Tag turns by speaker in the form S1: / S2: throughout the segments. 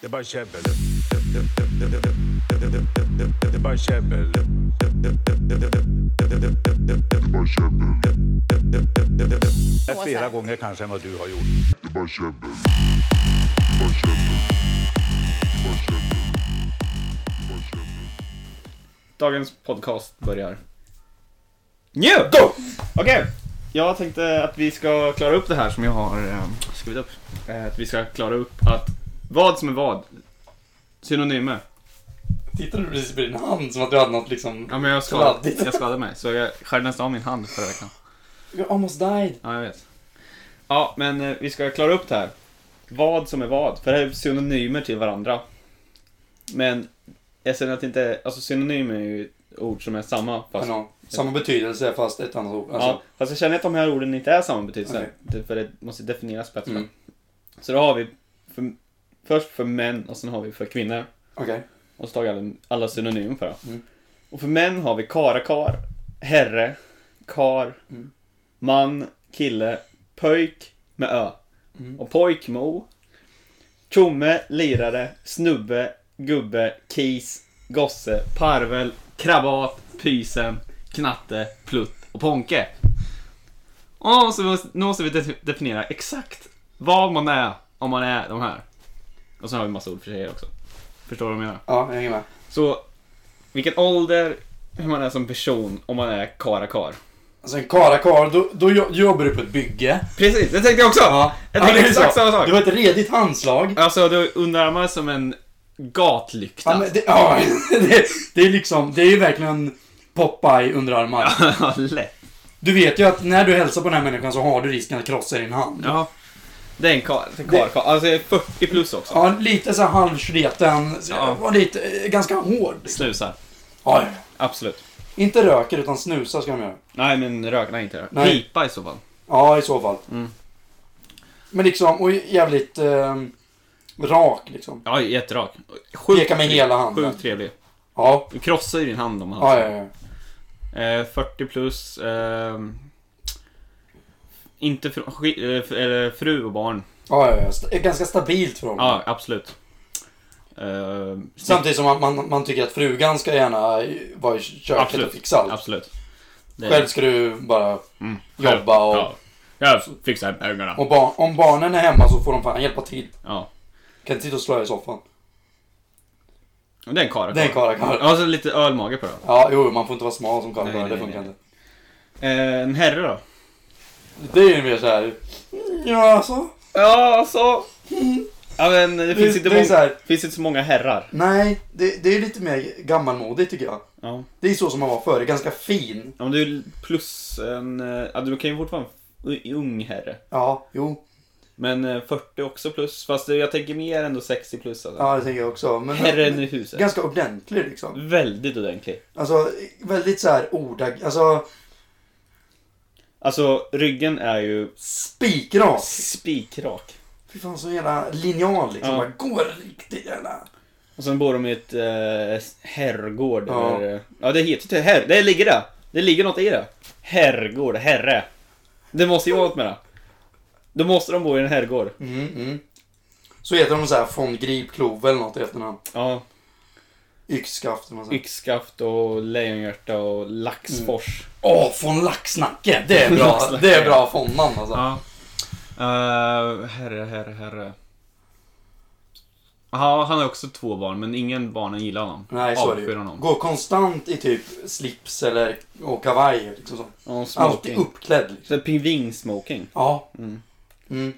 S1: Det är bara käbbel. Det är bara käbbel. Det är flera gånger kanske än vad du har gjort.
S2: Dagens podcast börjar. Nu! Go! Okej, jag tänkte att vi ska klara upp det här som jag har eh, skrivit upp. Eh, att vi ska klara upp att vad som är vad. Synonymer.
S3: Tittade du precis på din hand som att du hade något liksom...
S2: Ja, men jag, skad,
S3: Kladdigt.
S2: jag skadade mig, så jag skär nästan av min hand förra veckan.
S3: You almost died.
S2: Ja, jag vet. Ja, men eh, vi ska klara upp det här. Vad som är vad. För det här är synonymer till varandra. Men jag känner att det inte... Alltså synonymer är ju ord som är samma. Fast,
S3: Men, ja, samma betydelse fast ett annat ord. Alltså,
S2: ja, fast jag känner att de här orden inte är samma betydelse. Det- För det måste definieras bättre.
S3: Mm.
S2: Så då har vi för, först för män och sen har vi för kvinnor.
S3: Okej.
S2: Och så tar vi alla, alla synonymer för det.
S3: Mm.
S2: Och för män har vi karakar, herre, kar,
S3: Mm.
S2: man, kille, pöjk med ö.
S3: Mm.
S2: Och pojk med o. Tjomme, lirare, snubbe, gubbe, kis, gosse, parvel, krabat, pysen, knatte, plutt och ponke. Och så måste, nu måste vi de- definiera exakt vad man är om man är de här. Och så har vi massa ord för tjejer också. Förstår du vad jag menar?
S3: Ja, jag hänger med.
S2: Så vilken ålder, hur man är som person om man är karakar.
S3: Alltså en karakar, då, då jo- jobbar du på ett bygge.
S2: Precis, det tänkte jag också! Jag tänkte
S3: det är
S2: exakt
S3: så.
S2: samma sak.
S3: Du har ett redigt handslag.
S2: Alltså, du har underarmar som en gatlykta.
S3: Ja, men det, ja, det, det är liksom, det är ju verkligen Popeye underarmar.
S2: Ja, lätt.
S3: Du vet ju att när du hälsar på den här människan så har du risken att krossa din hand.
S2: Ja. Det är en kar- en karakar. Alltså, jag är 40 plus också.
S3: Ja, lite så här halvsleten, så-
S2: Ja.
S3: och lite, eh, ganska hård.
S2: Snusar.
S3: Ja, ja.
S2: Absolut.
S3: inte röker utan snusar ska de göra.
S2: Nej, men rök. Nej, inte rök.
S3: Nej.
S2: Pipa i så fall.
S3: Ja, i så fall.
S2: Mm.
S3: Men liksom, och jävligt eh, rak liksom.
S2: Ja, jätterak. Sjukt
S3: Peka med
S2: trevlig.
S3: hela handen.
S2: Sjukt trevlig.
S3: Ja,
S2: Du krossar ju din hand om man
S3: ja, ja, ja.
S2: Eh, 40 plus. ehm, inte fr- sk- eh, f- eller fru och barn.
S3: ja, ja, ja. St- ganska stabilt från
S2: Ja, absolut. Eh,
S3: Samtidigt som man, man, man tycker att frugan ska gärna eh, vara i köket
S2: Absolut.
S3: och fixa allt.
S2: absolut. Det-
S3: Själv ska du bara
S2: Mm.
S3: jobba och,
S2: Ja. Jag fixar pengarna.
S3: och barn, om barnen är hemma så får de fan hjälpa till.
S2: Ja.
S3: Kan inte sitta och slöa i soffan.
S2: Och Det är en karakar.
S3: Det är en karakar.
S2: Ja, så lite ölmage på det.
S3: Ja, jo, man får inte vara smal som
S2: Nej,
S3: karakar.
S2: nej,
S3: Det funkar
S2: nej.
S3: inte.
S2: Eh, en herre då?
S3: Det är ju mer såhär... Ja, alltså.
S2: Ja, så... Ja, men det finns, inte
S3: det är
S2: många,
S3: så här-
S2: finns inte så många herrar.
S3: Nej, det, det är lite mer gammalmodigt tycker jag.
S2: Ja.
S3: Det är så som man var förr, ganska fin.
S2: Om du är plus en... eh, Ja, du kan ju fortfarande vara en ung herre.
S3: Ja, jo.
S2: Men eh, 40 också plus. Fast jag tänker mer ändå 60 plus. Alltså.
S3: Ja, det tänker jag också. Men,
S2: Herren i huset.
S3: ganska ordentlig liksom.
S2: Väldigt ordentlig.
S3: Alltså, väldigt så här ordag... Alltså,
S2: Alltså, ryggen är ju
S3: spikrak.
S2: spikrak.
S3: Fy fan, så jävla linjal liksom.
S2: Ja.
S3: Bara går riktigt jävla...
S2: Och sen bor de i ett eh, herrgård.
S3: Ja.
S2: Eller, eh, ja, det heter ju herr... Det ligger det. Det ligger något i det. Herrgård, herre. Det måste ju vara något med det. Då måste de bo i en herrgård.
S3: Mm, mm. Så heter de så här von Grip Klove eller något i efternamn.
S2: Ja,
S3: Yxskaft eller något sånt.
S2: yxskaft och lejonhjärta och laxfors.
S3: Åh, von Laxnacke! Det är bra,
S2: Laxnacke.
S3: det är bra fondnamn alltså.
S2: Ja. Eh, herre, herre, herre. Ja, han har också två barn, men ingen barnen gillar honom.
S3: Nej, så är det
S2: Avskyr
S3: ju.
S2: honom.
S3: Gå konstant i typ slips eller och kavaj. Liksom så.
S2: Ja,
S3: Alltid
S2: smoking.
S3: uppklädd. Liksom.
S2: Så Pingvinsmoking.
S3: Ja.
S2: Mm.
S3: Mm.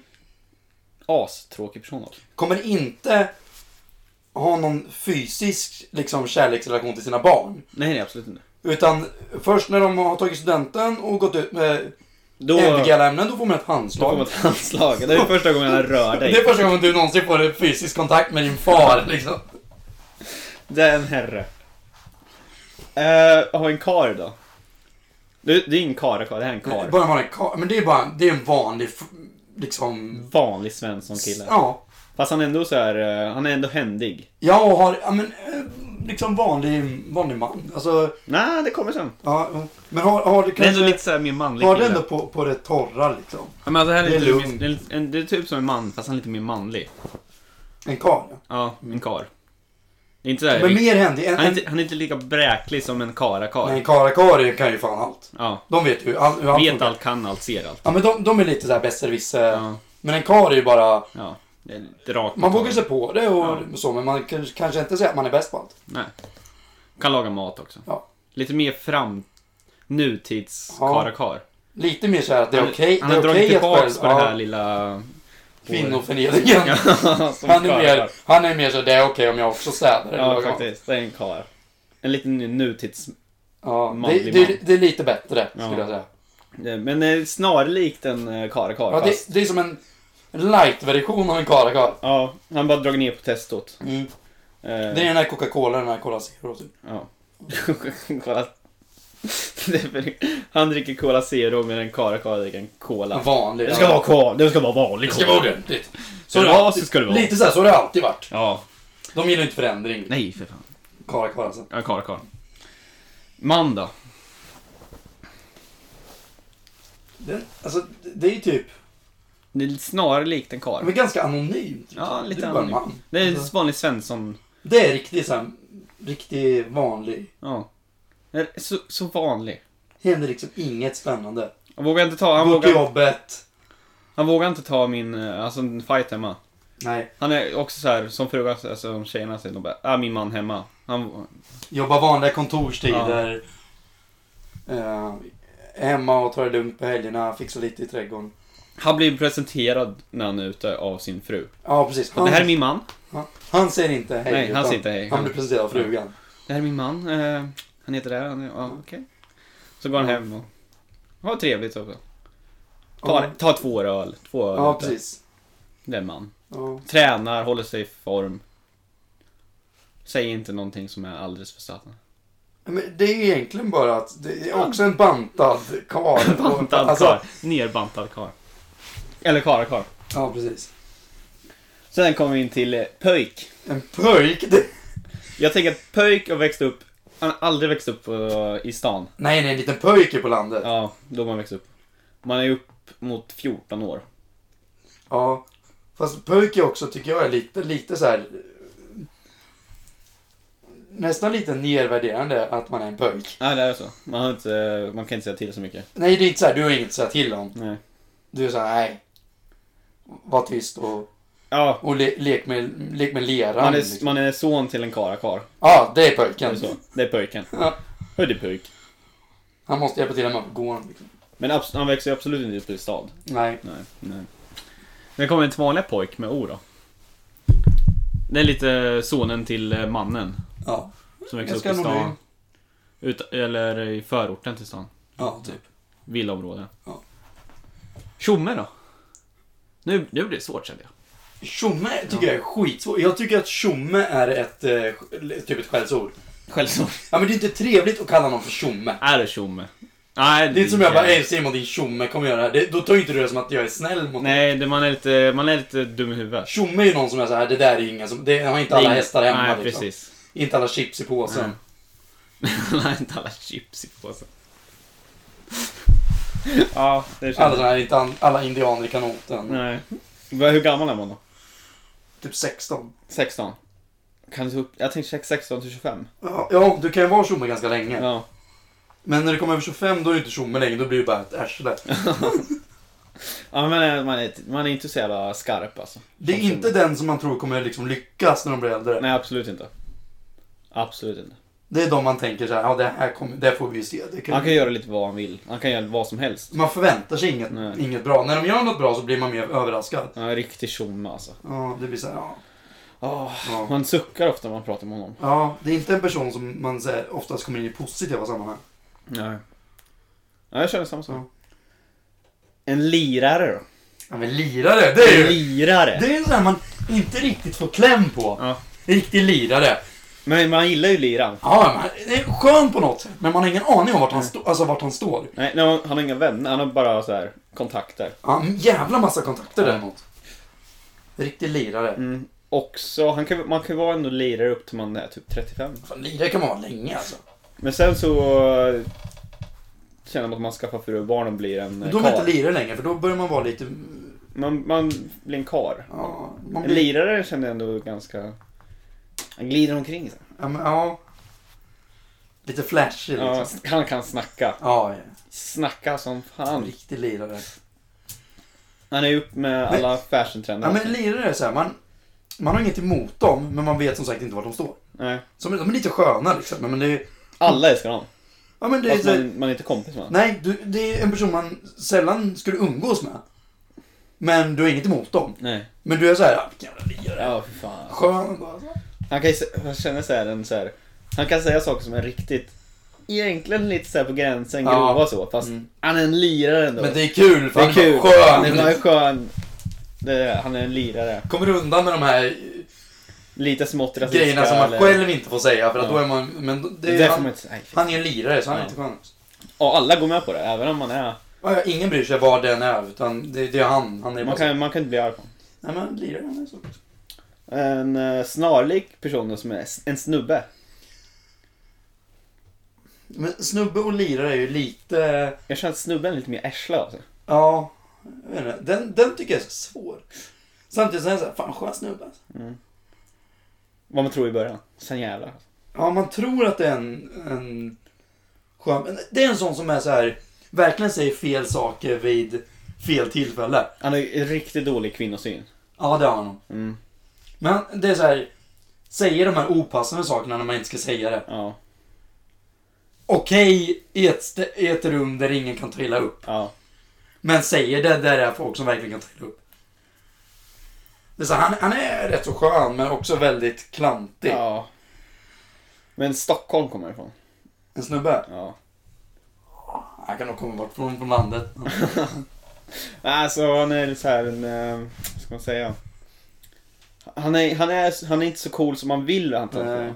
S2: Astråkig person alltså. dock.
S3: Kommer inte ha någon fysisk liksom, kärleksrelation till sina barn.
S2: Nej, nej, absolut inte.
S3: Utan först när de har tagit studenten och gått ut med
S2: Då...
S3: NVG-ämnen, då får man
S2: Då
S3: ett
S2: får
S3: handslag.
S2: man ett handslag. Det är första gången jag rör
S3: Det är
S2: dig.
S3: första gången du någonsin får en fysisk kontakt med din far. Liksom.
S2: Det är en herre. Uh, har en kar då? Det, det är ingen karakar, det här är en kar.
S3: Bara man är kar. Men det är bara det är en vanlig f- liksom...
S2: Vanlig svensson kille.
S3: Ja.
S2: Fast han är ändå så här, eh, han är ändå händig.
S3: Ja, och har, ja men eh, liksom vanlig, vanlig man. Alltså,
S2: Nej, det kommer sen.
S3: ja, ja. men har, har det
S2: Det är ändå
S3: kanske...
S2: lite så här mer manlig
S3: har det
S2: kille.
S3: ändå på, på det torra liksom.
S2: Ja, men alltså här är
S3: Det är
S2: lite,
S3: lugnt.
S2: det, är, lite- en- det är typ som en man, fast han är lite mer manlig.
S3: En karl, ja.
S2: Ja, en kar. Inte sådär,
S3: Men mer hände en,
S2: han, är
S3: en,
S2: inte, han är inte lika bräklig som en karakar.
S3: Nej, karakarier kan ju fan allt.
S2: Ja.
S3: De vet ju all, hur allt
S2: Vet
S3: funkar.
S2: allt, kan allt, ser allt.
S3: Ja, men de, de är lite såhär besserwisser.
S2: Ja.
S3: Men en karl är ju bara...
S2: Ja. Det är lite rakt.
S3: Man vågar sig på det och
S2: Ja.
S3: så, men man kan- kanske inte säger att man är bäst på allt.
S2: Nej. Kan laga mat också.
S3: Ja.
S2: Lite mer fram... Nutids
S3: Ja.
S2: karakar.
S3: Lite mer såhär att det är
S2: Han-
S3: okej
S2: Han
S3: det
S2: har
S3: är
S2: dragit
S3: okej att
S2: tillbaks på
S3: själv-
S2: det
S3: ja,
S2: här lilla...
S3: Kvinnoförnedringen.
S2: som
S3: Han är,
S2: karlar.
S3: mer, han är mer så det är okej om jag också städar. eller
S2: Ja,
S3: lagar mat."
S2: faktiskt. Det är en kar. En liten ny- nutids...
S3: Ja, det,
S2: Manlig
S3: det,
S2: man.
S3: det är lite bättre, skulle
S2: Ja.
S3: jag säga.
S2: Men eh, snarlikt en eh, karakar.
S3: Ja,
S2: fast...
S3: det, det är som en light-version av en karakar.
S2: ja, han bara dragit ner på testot.
S3: Mm.
S2: Eh,
S3: Det är den här Coca-Cola, den här Cola Zero. Typ.
S2: Ja. Kolla. Det är för- Han dricker Cola Zero medan karakar dricker en
S3: En
S2: Cola.
S3: vanlig.
S2: Det ska vara kol. Det ska vara vanlig
S3: Det ska vara ordentligt.
S2: Så det var, så ska det vara.
S3: Lite så här, så har det alltid varit.
S2: Ja.
S3: De gillar inte förändring,
S2: Nej, för fan.
S3: karakar alltså.
S2: Ja, karakar. Man då?
S3: Det, alltså, det är ju typ...
S2: Det är snarare likt en kar.
S3: Men ganska anonymt.
S2: Ja,
S3: Det
S2: lite
S3: är bara en
S2: annorlunda.
S3: man.
S2: Det är
S3: Alltså.
S2: en vanlig Svensson.
S3: Det är riktigt så här, riktigt vanlig.
S2: Ja. Det är Så, så vanlig.
S3: Händer liksom inget spännande.
S2: Han vågar inte ta, han
S3: Gå till
S2: vågar,
S3: jobbet.
S2: han vågar inte ta min, eh, alltså en fight hemma.
S3: Nej,
S2: Han är också så här som frugan, alltså som tjejerna säger, de bara, ah min man hemma. Han,
S3: jobba vanliga kontorstider. Eh, hemma och ta det lugnt på helgerna, fixa lite i trädgården.
S2: han blir presenterad när han är ute av sin fru.
S3: Ja, precis.
S2: Det här är min man.
S3: han, han säger inte hej.
S2: Nej, han
S3: utan
S2: säger inte hej.
S3: Han blir presenterad av frugan.
S2: Det här är min man. Eh, han heter det här. Han är, ja, okej. Så går han hem och har trevligt också. Ta,
S3: Ja,
S2: ta två öl. Två öl
S3: ja
S2: ute.
S3: precis.
S2: Det är en man.
S3: Ja.
S2: Tränar, håller sig i form. Säger inte någonting som är alldeles för satan.
S3: Men det är ju egentligen bara att det är också en bantad karl.
S2: Bantad
S3: Alltså,
S2: karl. Nerbantad karl. Eller karakar.
S3: Ja, precis.
S2: Sen kommer vi in till eh, pöjk.
S3: En pöjk. Det...
S2: Jag tänker att pöjk har växt upp, han har aldrig växt upp eh, i stan.
S3: Nej, nej, en liten pöjk är på landet. Ja.
S2: Ja, då man växt upp. Man är ju upp mot 14 år.
S3: Fast pöjk är också, tycker jag, är lite, lite så här... eh, Nästan lite nedvärderande att man är en pöjk.
S2: Nej, det är så. Man, har inte, eh, man kan inte säga till så mycket.
S3: Nej, det är inte så här, du har inget att säga till om.
S2: Nej.
S3: Du är så här, nej. Var tyst och,
S2: Ja,
S3: och le, lek, med, lek med leran.
S2: man är,
S3: liksom.
S2: man är son till en karakar.
S3: Ja, det är
S2: Det
S3: pöjken.
S2: är så. Det är pöjken.
S3: Ja.
S2: Hörde pöjk.
S3: Han måste hjälpa till hemma på gården. Liksom.
S2: Men abs- han växer ju absolut inte upp i stad.
S3: Nej.
S2: Nej, nej. Men kommer en till vanliga pojk med O då. Det är lite sonen till eh, mannen
S3: Ja.
S2: som växer upp
S3: Ganska
S2: i stan.
S3: anonym.
S2: Ut, eller i förorten till stan.
S3: Ja, typ.
S2: Villaområde.
S3: Ja.
S2: Tjomme då? Nu, nu blir det svårt känner jag.
S3: Tjomme tycker jag är skitsvårt. Jag tycker att tjomme är ett, eh, typ ett skällsord.
S2: Självsvårt.
S3: Ja, men det är inte trevligt att kalla någon för tjomme.
S2: Är det tjomme? Nej,
S3: Det är inte som jag bara,
S2: nej.
S3: ej Simon din tjomme, kom och gör det här. Det, då tar ju inte du det som att jag är snäll mot dig.
S2: Nej, det, man, är lite, man är lite dum i huvudet.
S3: Tjomme är ju någon som är så här, det där är ju ingen som, det har inte alla
S2: Nej,
S3: hästar hemma
S2: Nej,
S3: liksom.
S2: precis.
S3: Inte alla chips i påsen.
S2: Nej. Han har inte alla chips i påsen. ja, det
S3: Alla
S2: känns...
S3: sådana här, inte an, alla indianer i kanoten.
S2: Nej. Vad- Hur gammal är man då?
S3: Typ 16.
S2: 16? Kan du, jag tänkte 16 till 25.
S3: Ja, ja, du kan ju vara tjomme ganska länge.
S2: Ja.
S3: Men när du kommer över 25 då är du inte tjomme längre, då blir du bara ett arsle.
S2: ja men eh, man är, man är inte så jävla skarp alltså.
S3: Det är
S2: Som
S3: inte den som man tror kommer liksom lyckas när de blir äldre.
S2: Nej, absolut inte. Absolut inte.
S3: Det är de man tänker så här, ja det här kommer, det får vi ju se. Det kan...
S2: Han kan göra lite vad han vill. Han kan göra vad som helst.
S3: Man förväntar sig inget,
S2: Nej.
S3: inget bra. När de gör något bra så blir man mer överraskad.
S2: Han är en riktig tjomme alltså.
S3: Ja, det blir så här, ja.
S2: Åh,
S3: Ja.
S2: Man suckar ofta när man pratar med honom.
S3: ja. Det är inte en person som man så här, oftast kommer in i positiva sammanhang.
S2: Nej. Ja, jag känner samma sak.
S3: Ja.
S2: En lirare då?
S3: Ja men lirare, det är ju...
S2: Lirare?
S3: Det är en sån här man inte riktigt får kläm på.
S2: Ja.
S3: Riktig lirare.
S2: Men man gillar ju liran.
S3: Ja, man, det är skön på något sätt. Men man har ingen aning om vart han, stå, alltså, vart han står.
S2: Nej, nej, han har inga vänner. Han har bara så här kontakter.
S3: Ja, en jävla massa kontakter
S2: Ja.
S3: däremot. Riktig lirare.
S2: Mm. Också, han kan, man kan ju vara ändå lirare upp till man är typ 35.
S3: Fan, lirare kan man vara länge alltså.
S2: Men sen så eh, känner man att man skaffar fru och barn och blir en eh,
S3: Då är man
S2: karl.
S3: inte lirare längre för då börjar man vara lite mm,
S2: Man, man blir en kar.
S3: Ja, man
S2: En
S3: blir,
S2: lirare känner jag ändå ganska... Han glider omkring så.
S3: ja, men, ja. Lite flashig liksom.
S2: Ja,
S3: Ja,
S2: han kan snacka.
S3: ja.
S2: Snacka som fan.
S3: Riktig lirare.
S2: Han är ju upp med
S3: Men-
S2: alla fashiontrender.
S3: Ja, men lirare är så här, man, man har inget emot dem, men man vet som sagt inte var de står.
S2: Nej.
S3: Så de de är lite sköna liksom. Men det är,
S2: Alla älskar honom.
S3: ja, men det är,
S2: Fast
S3: så här-
S2: man, man är inte kompis med honom.
S3: nej, du, det är en person man sällan skulle umgås med. Men du har inget emot dem.
S2: Nej.
S3: Men du är så här, ja, vilken jävla lirare.
S2: Ja, för fan.
S3: Skön bara. så.
S2: Han kan ju sä- han känner så här, en så här, Han kan säga saker som är riktigt... Egentligen lite så här på gränsen,
S3: Ja.
S2: grova så. Fast
S3: Mm.
S2: han är en lirare ändå.
S3: Men det är kul,
S2: Det
S3: för
S2: är
S3: han är
S2: kul. Han
S3: skön.
S2: är skön. Det är, han är en lirare.
S3: Kommer undan med de här
S2: Lite smått rasistiska.
S3: grejerna som man
S2: eller-
S3: själv inte får säga för att
S2: Ja.
S3: då är man... Men
S2: Det
S3: det,
S2: där får man
S3: han,
S2: inte... Nej, fy fan.
S3: han är en lirare så han är
S2: Ja.
S3: inte skön.
S2: Och alla går med på det, även om man är...
S3: Ja, ja, Ingen bryr sig vad den är utan det, det är han. Han är bara
S2: Man
S3: så.
S2: kan, man kan inte bli arg på honom.
S3: Nej men lirare han är så.
S2: En eh, snarlik person då som är s- en snubbe.
S3: Men snubbe och lirare är ju lite...
S2: Jag känner att snubben är lite mer ärsle av sig.
S3: Ja, jag vet inte. Den, den tycker jag är så svår. Samtidigt så är jag såhär, fan skön snubbe alltså.
S2: Vad man tror i början. Sen jävlar.
S3: Ja, man tror att det är en, en skön... men Det är en sån som är så här verkligen säger fel saker vid fel tillfälle.
S2: Han har ju en riktigt dålig kvinnosyn.
S3: Ja, det har han nog.
S2: Mm.
S3: Men det är så här. Säger de här opassande sakerna när man inte ska säga det.
S2: Ja,
S3: Okej i ett, st- i ett rum där ingen kan trilla upp.
S2: ja.
S3: Men säger det där det är folk som verkligen kan trilla upp. Det är så här, han, han är rätt så skön men också väldigt klantig.
S2: ja. Men Stockholm kommer han ifrån.
S3: En snubbe.
S2: Ja.
S3: Han kan nog komma bort från, från landet.
S2: Alltså han är lite så här en... eh, Vad ska man säga? Han är, han, är, han är inte så cool som man vill att han ska
S3: Nej.
S2: vara.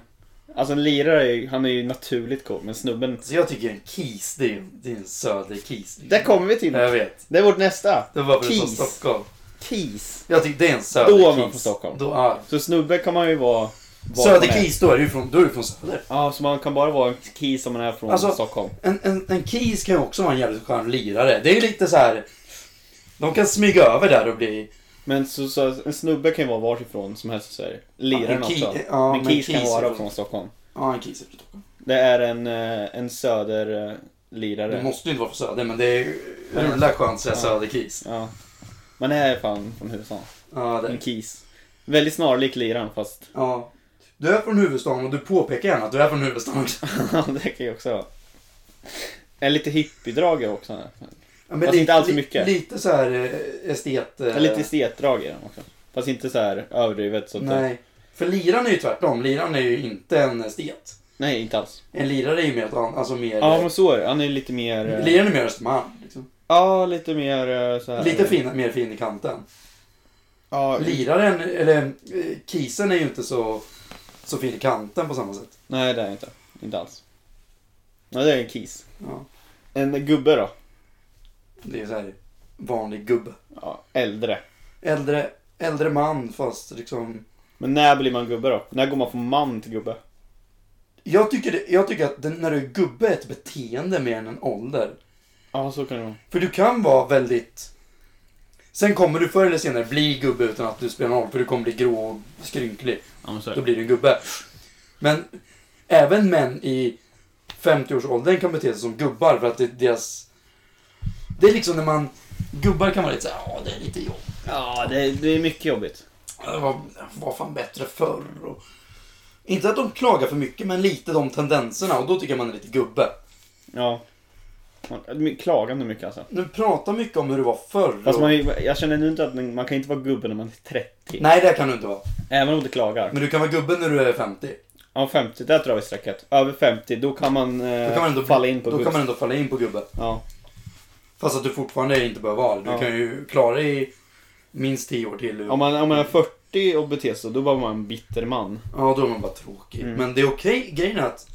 S2: Alltså en lirare, är ju- han är ju naturligt cool, men snubben...
S3: Så jag tycker en kis, det är, ju- det är en söderkis.
S2: Där kommer vi till!
S3: Jag vet.
S2: Det är vårt nästa!
S3: Det var för från
S2: Kis.
S3: Stockholm.
S2: Kis.
S3: Jag tycker det är en
S2: Då
S3: söderkis.
S2: var man från Stockholm.
S3: Då, ja.
S2: Så snubbe kan man ju vara... var man är.
S3: Söderkis, då är du ju från, då är du från söder.
S2: Ja, så man kan bara vara en kis om man är från
S3: Alltså-
S2: Stockholm.
S3: En, en, en kis kan ju också vara en jävligt skön lirare. Det är ju lite så här. De kan smyga över där och bli...
S2: Men så, så, en snubbe kan ju vara varifrån som helst i Sverige.
S3: Ja,
S2: Liraren
S3: en ki-
S2: också.
S3: ja,
S2: men
S3: men
S2: kis kan
S3: kis är
S2: vara
S3: från-
S2: från Stockholm.
S3: Ja, en kis är från Stockholm.
S2: Det är en, eh, en söderlirare.
S3: Det måste ju inte vara från söder, men det är rullar skönt så här söderkis.
S2: Mm. Ja. Man är fan från huvudstaden.
S3: Ja,
S2: En
S3: det.
S2: kis. Väldigt snarlik liraren fast...
S3: ja. Du är från huvudstaden och du påpekar gärna att du är från huvudstaden också.
S2: Ja, det kan ju också vara. En lite hippiedrag är också. här.
S3: Ja, men
S2: Fast
S3: li-
S2: inte alls så
S3: li-
S2: mycket.
S3: Lite så här eh, estet... eh,
S2: En lite estetdrag är den också. Fast inte så här överdrivet. Så att det-
S3: Nej. För liran är ju tvärtom. Liran är ju inte en estet.
S2: nej, inte alls.
S3: En lirare är ju mer... ett an- Alltså mer...
S2: Ja, men så är det. Han är lite mer... eh,
S3: Liran är mer Östermalm. Liksom.
S2: Ja, lite mer eh, så här.
S3: Lite fin, mer fin i kanten.
S2: Ja,
S3: Liraren, eller eh, kisen är ju inte så, så fin i kanten på samma sätt.
S2: nej, det är jag inte. Inte alls. Ja, det är en kis.
S3: Ja,
S2: En gubbe då?
S3: det är så här vanlig gubbe.
S2: Ja, äldre.
S3: Äldre, äldre man fast liksom...
S2: Men när blir man gubbe då? När går man från man till gubbe?
S3: Jag tycker, det, jag tycker att den, när du är gubbe är ett beteende mer än en ålder.
S2: Ja, så kan det vara.
S3: För du kan vara väldigt... Sen kommer du förr eller senare bli gubbe utan att du spelar någon roll för du kommer bli grå och skrynklig.
S2: Ja, men så är
S3: Då
S2: det.
S3: blir du en gubbe. Men även män i 50-årsåldern kan bete sig som gubbar för att det är deras... Det är liksom när man... Gubbar kan vara lite såhär, ja det är lite jobb.
S2: Ja, det, det är mycket jobbigt.
S3: Det var, var fan bättre förr. Och... Inte att de klagar för mycket men lite de tendenserna och då tycker jag man är lite gubbe.
S2: Ja. Man- my- Klagande mycket alltså.
S3: Nu pratar mycket om hur det var förr.
S2: Fast
S3: och-
S2: man, jag känner nu inte att man man kan inte vara gubbe när man är 30.
S3: Nej det kan du inte vara.
S2: Även om du klagar.
S3: Men du kan vara gubbe när du är 50.
S2: Ja, 50, där drar vi strecket. Över 50, då kan man, eh,
S3: Då kan man ändå
S2: falla in på
S3: Då
S2: gubbs.
S3: kan man ändå falla in på gubbe.
S2: Ja,
S3: Fast att du fortfarande inte behöver vara det. Du
S2: Ja.
S3: kan ju klara dig i minst 10 år till.
S2: om man, om man är 40 och beter sig så, då var man en bitter man.
S3: Ja, då är man bara tråkig.
S2: Mm.
S3: Men det är okej. Grejen är att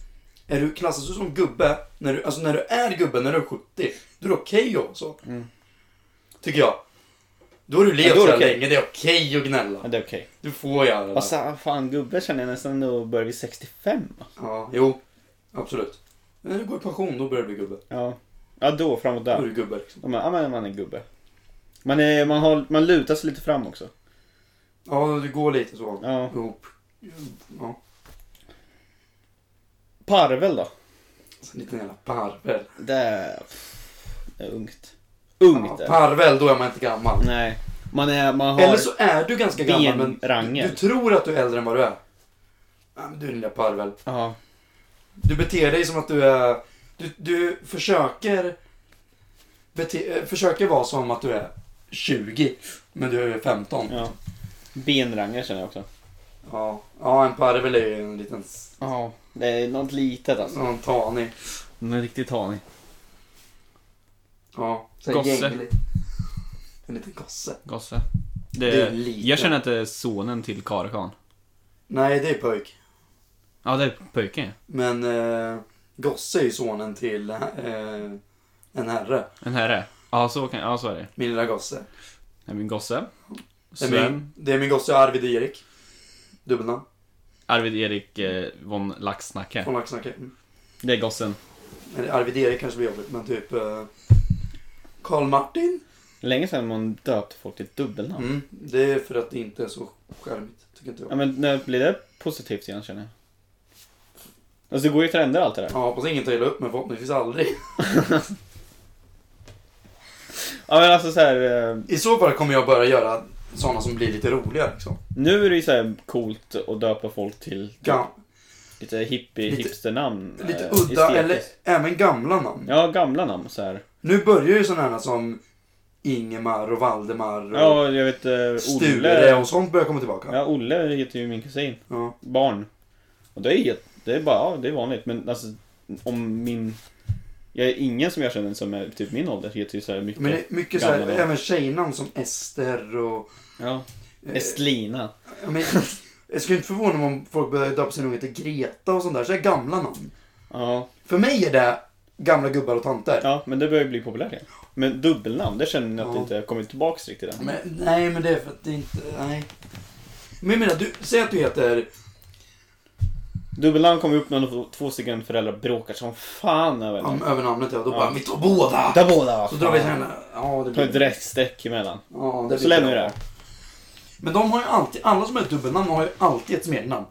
S3: är du klassas du som gubbe, när du, alltså när du är gubbe, när du är 70, då är det okej också.
S2: Mm.
S3: Tycker jag. Då har du levt
S2: då är
S3: så
S2: det
S3: här
S2: okej.
S3: länge, det är okej att
S2: Ja,
S3: gnälla.
S2: det är okej.
S3: Du får göra det.
S2: Alltså, fan gubbe känner jag nästan då börjar vid 65.
S3: Ja, jo, absolut. Men när du går i pension, då börjar du bli gubbe.
S2: Ja. Ja, då framåt
S3: Då är
S2: där.
S3: du gubbe liksom.
S2: Ja, men, ja, men man är gubbe. Man, är, man, har, man lutar sig lite fram också.
S3: Ja, det går lite så.
S2: Ja.
S3: Ihop. Ja.
S2: Parvel då?
S3: Så en liten jävla parvel.
S2: Det är, det är ungt. Ungt
S3: Ja,
S2: är det.
S3: parvel, då är man inte gammal.
S2: Nej. Man, är, man har...
S3: Eller så är du ganska gammal men
S2: benrangel.
S3: du, du tror att du är äldre än vad du är. Ja, men du lilla parvel.
S2: Ja.
S3: Du beter dig som att du är... Du, du försöker... Bete, eh, försöker vara som att du är 20, men du är 15. Ja,
S2: ja. Benrangel känner jag också.
S3: ja, en parvel är ju en liten... s-
S2: Ja. Det är något litet alltså.
S3: Någon tanig.
S2: Den är riktigt tanig.
S3: Ja, så här
S2: Gosse.
S3: gänglig. En liten gosse.
S2: Gosse. Det,
S3: Det är lite.
S2: Jag känner att det är sonen till Karakan.
S3: Nej, det är pojk.
S2: Ja, det är pojken ja.
S3: Men eh, gosse är ju sonen till eh, en herre.
S2: En herre. Ja, så, kan, ja, så är det.
S3: Min lilla gosse.
S2: Nej, min gosse.
S3: Det är
S2: Sven.
S3: min, det är min gosse Arvid Erik. Dubbelnamn.
S2: Arvid Erik eh, von Laxnacke.
S3: Från Laxnacke. Mm.
S2: Det är gossen.
S3: Eller Arvid Erik kanske blir jobbigt, men typ eh, Karl Martin.
S2: Länge sedan man döpte folk till ett dubbelnamn.
S3: Mm. Det är för att det inte är så charmigt, tycker inte
S2: Ja,
S3: jag.
S2: men när blir det positivt igen känner jag? Alltså det går ju trender allt det där.
S3: Jag hoppas ingen tar illa upp mig, förhoppningsvis aldrig.
S2: Ja men alltså så här, eh,
S3: I så fall kommer jag börja göra sådana som blir lite roliga liksom.
S2: nu är det ju så här coolt att döpa folk till
S3: Gam-
S2: lite hippie,
S3: Lite-
S2: hipsternamn.
S3: lite
S2: eh,
S3: udda, eller
S2: estetiskt.
S3: även gamla namn.
S2: Ja, gamla namn så här.
S3: Nu börjar ju sådana här som Ingemar och Valdemar och
S2: Ja, jag vet eh,
S3: Sture
S2: Olle.
S3: och sånt börjar komma tillbaka.
S2: Ja, Olle heter ju min kusin.
S3: Ja.
S2: barn. Och det är, helt- det är bara, ja, det är vanligt. Men alltså, om min... Jag är ingen som jag känner som är typ min ålder heter ju så här mycket.
S3: Men det är mycket så här,
S2: Gamla namn.
S3: även tjejnamn som Ester och...
S2: Ja.
S3: eh,
S2: Estlina.
S3: ja, men, jag skulle inte förvåna mig om folk börjar döpa sin unge till Greta och sånt där. Så här gamla namn.
S2: Ja.
S3: För mig är det gamla gubbar och tanter.
S2: ja, men det börjar ju bli populärt igen. Men dubbelnamn, det känner jag att det
S3: Ja.
S2: inte har kommit tillbaks riktigt än.
S3: Men, nej, men det är för att det inte... Nej. Men jag menar, du, säg att du heter...
S2: Dubbelnamn kommer upp när två stycken föräldrar bråkar som fan över
S3: Ja,
S2: namn.
S3: över namnet ja, då
S2: Ja.
S3: bara vi tar båda!
S2: Där båda!
S3: Så drar vi till henne. Ja, det
S2: Ta
S3: blir
S2: ett direkt streck emellan.
S3: Ja,
S2: Så
S3: blir
S2: lämnar
S3: bra.
S2: vi det här.
S3: Men de har ju alltid, alla som har ett dubbelnamn har ju alltid ett smeknamn.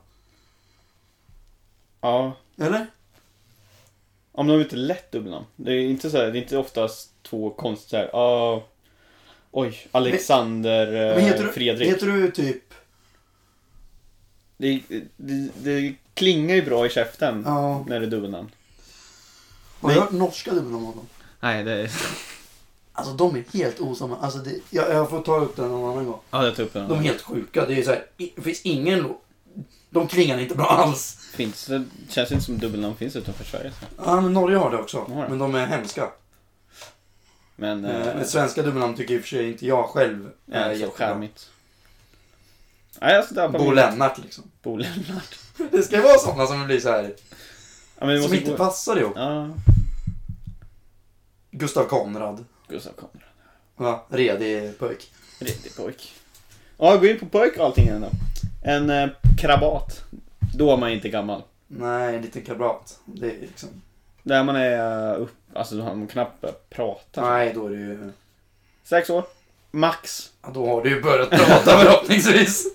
S2: Ja.
S3: Eller?
S2: Om de är inte lätt dubbelnamn. Det är inte så här, det är inte oftast två konstiga här. ah, oj, Alexander,
S3: Men
S2: eh,
S3: heter du,
S2: Fredrik.
S3: Heter du typ...
S2: Det, det, det klingar ju bra i käften
S3: Ja.
S2: när det är dubbelnamn.
S3: Har du
S2: Nej.
S3: hört norska dubbelnamn någon gång?
S2: Nej, det är...
S3: Alltså de är helt osamma. Alltså det, jag, jag får ta upp den någon annan gång.
S2: Ja, det tar upp en
S3: De är
S2: annan.
S3: helt sjuka. Det är så här, i- det finns ingen... lo- De klingar inte bra alls.
S2: Finns det känns inte som dubbelnamn finns utanför Sverige. Så.
S3: Ja, men Norge har det också.
S2: De har det.
S3: Men de är hemska.
S2: Men
S3: Eh,
S2: eh,
S3: Men svenska dubbelnamn tycker i och för sig inte jag själv
S2: det
S3: är
S2: är så
S3: jättebra.
S2: charmigt. Nej, jag ska döpa
S3: Bo
S2: min-
S3: Lennart liksom.
S2: Bo Lennart.
S3: Det ska ju vara sådana som blir så här.
S2: Ja, men vi
S3: Som
S2: måste
S3: inte
S2: gå...
S3: passar ihop.
S2: Ja,
S3: Gustav Konrad.
S2: Gustav Konrad.
S3: Va? Redig pojk.
S2: Redig pojk. Ja, gå in på pojk och allting igen då. En eh, krabat. Då är man inte gammal.
S3: Nej, en liten kabrat. Det är liksom...
S2: Där man är eh, upp... Alltså, man knappt börjar prata.
S3: Nej, då är det ju...
S2: Sex år. Max.
S3: Ja, då har du ju börjat prata förhoppningsvis.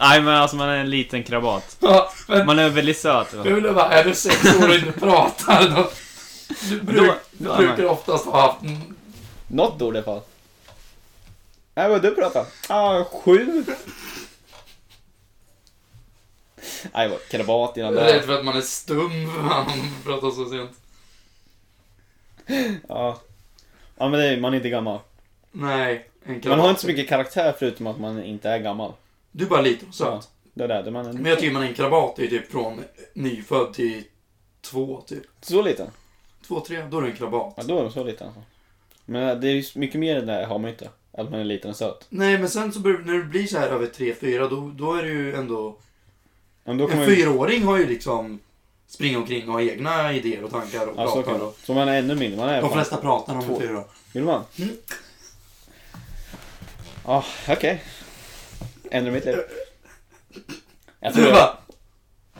S4: Nej men alltså man är en liten krabat.
S3: Ja, men
S4: Man är väldigt söt. va?
S3: jag ville bara, är du sex år och inte pratar då? Du, bruk,
S4: Då- då är
S3: du brukar oftast ha haft... en-
S2: Något ord i alla fall. Nej, vad du pratar? Ah, sju. Nej, vad krabat innan
S3: Rädd
S2: det.
S3: för att man är stum för man pratar så sent.
S2: Ja. Ja, men det är, man är inte gammal.
S3: Nej, en krabat.
S2: Man har inte så mycket karaktär förutom att man inte är gammal.
S3: Du är bara liten och
S2: Ja,
S3: söt.
S2: det är det. Man
S3: Men
S2: är
S3: jag tycker man är en krabat är ju typ från nyfödd till två, typ.
S2: så liten.
S3: Två, tre, då är du en krabat.
S2: Ja, då är de så liten alltså. Men det är ju mycket mer än det har man ju inte. Att man är liten och söt.
S3: Nej, men sen så bör, när du blir så här över tre, fyra, då, då är det ju ändå...
S2: Men då
S3: En
S2: kommer ju...
S3: fyraåring har ju liksom springa omkring och ha egna idéer och tankar och
S2: Ja, så kan
S3: pratar.
S2: det.
S3: Och
S2: Så man är ännu mindre. Man är
S3: de
S2: fan...
S3: flesta pratar om
S2: Två.
S3: en fyraåring.
S2: Vill man?
S3: Mm.
S2: Ja, Ah, okej. Ändrar mitt liv. Jag tror
S3: Du
S2: jag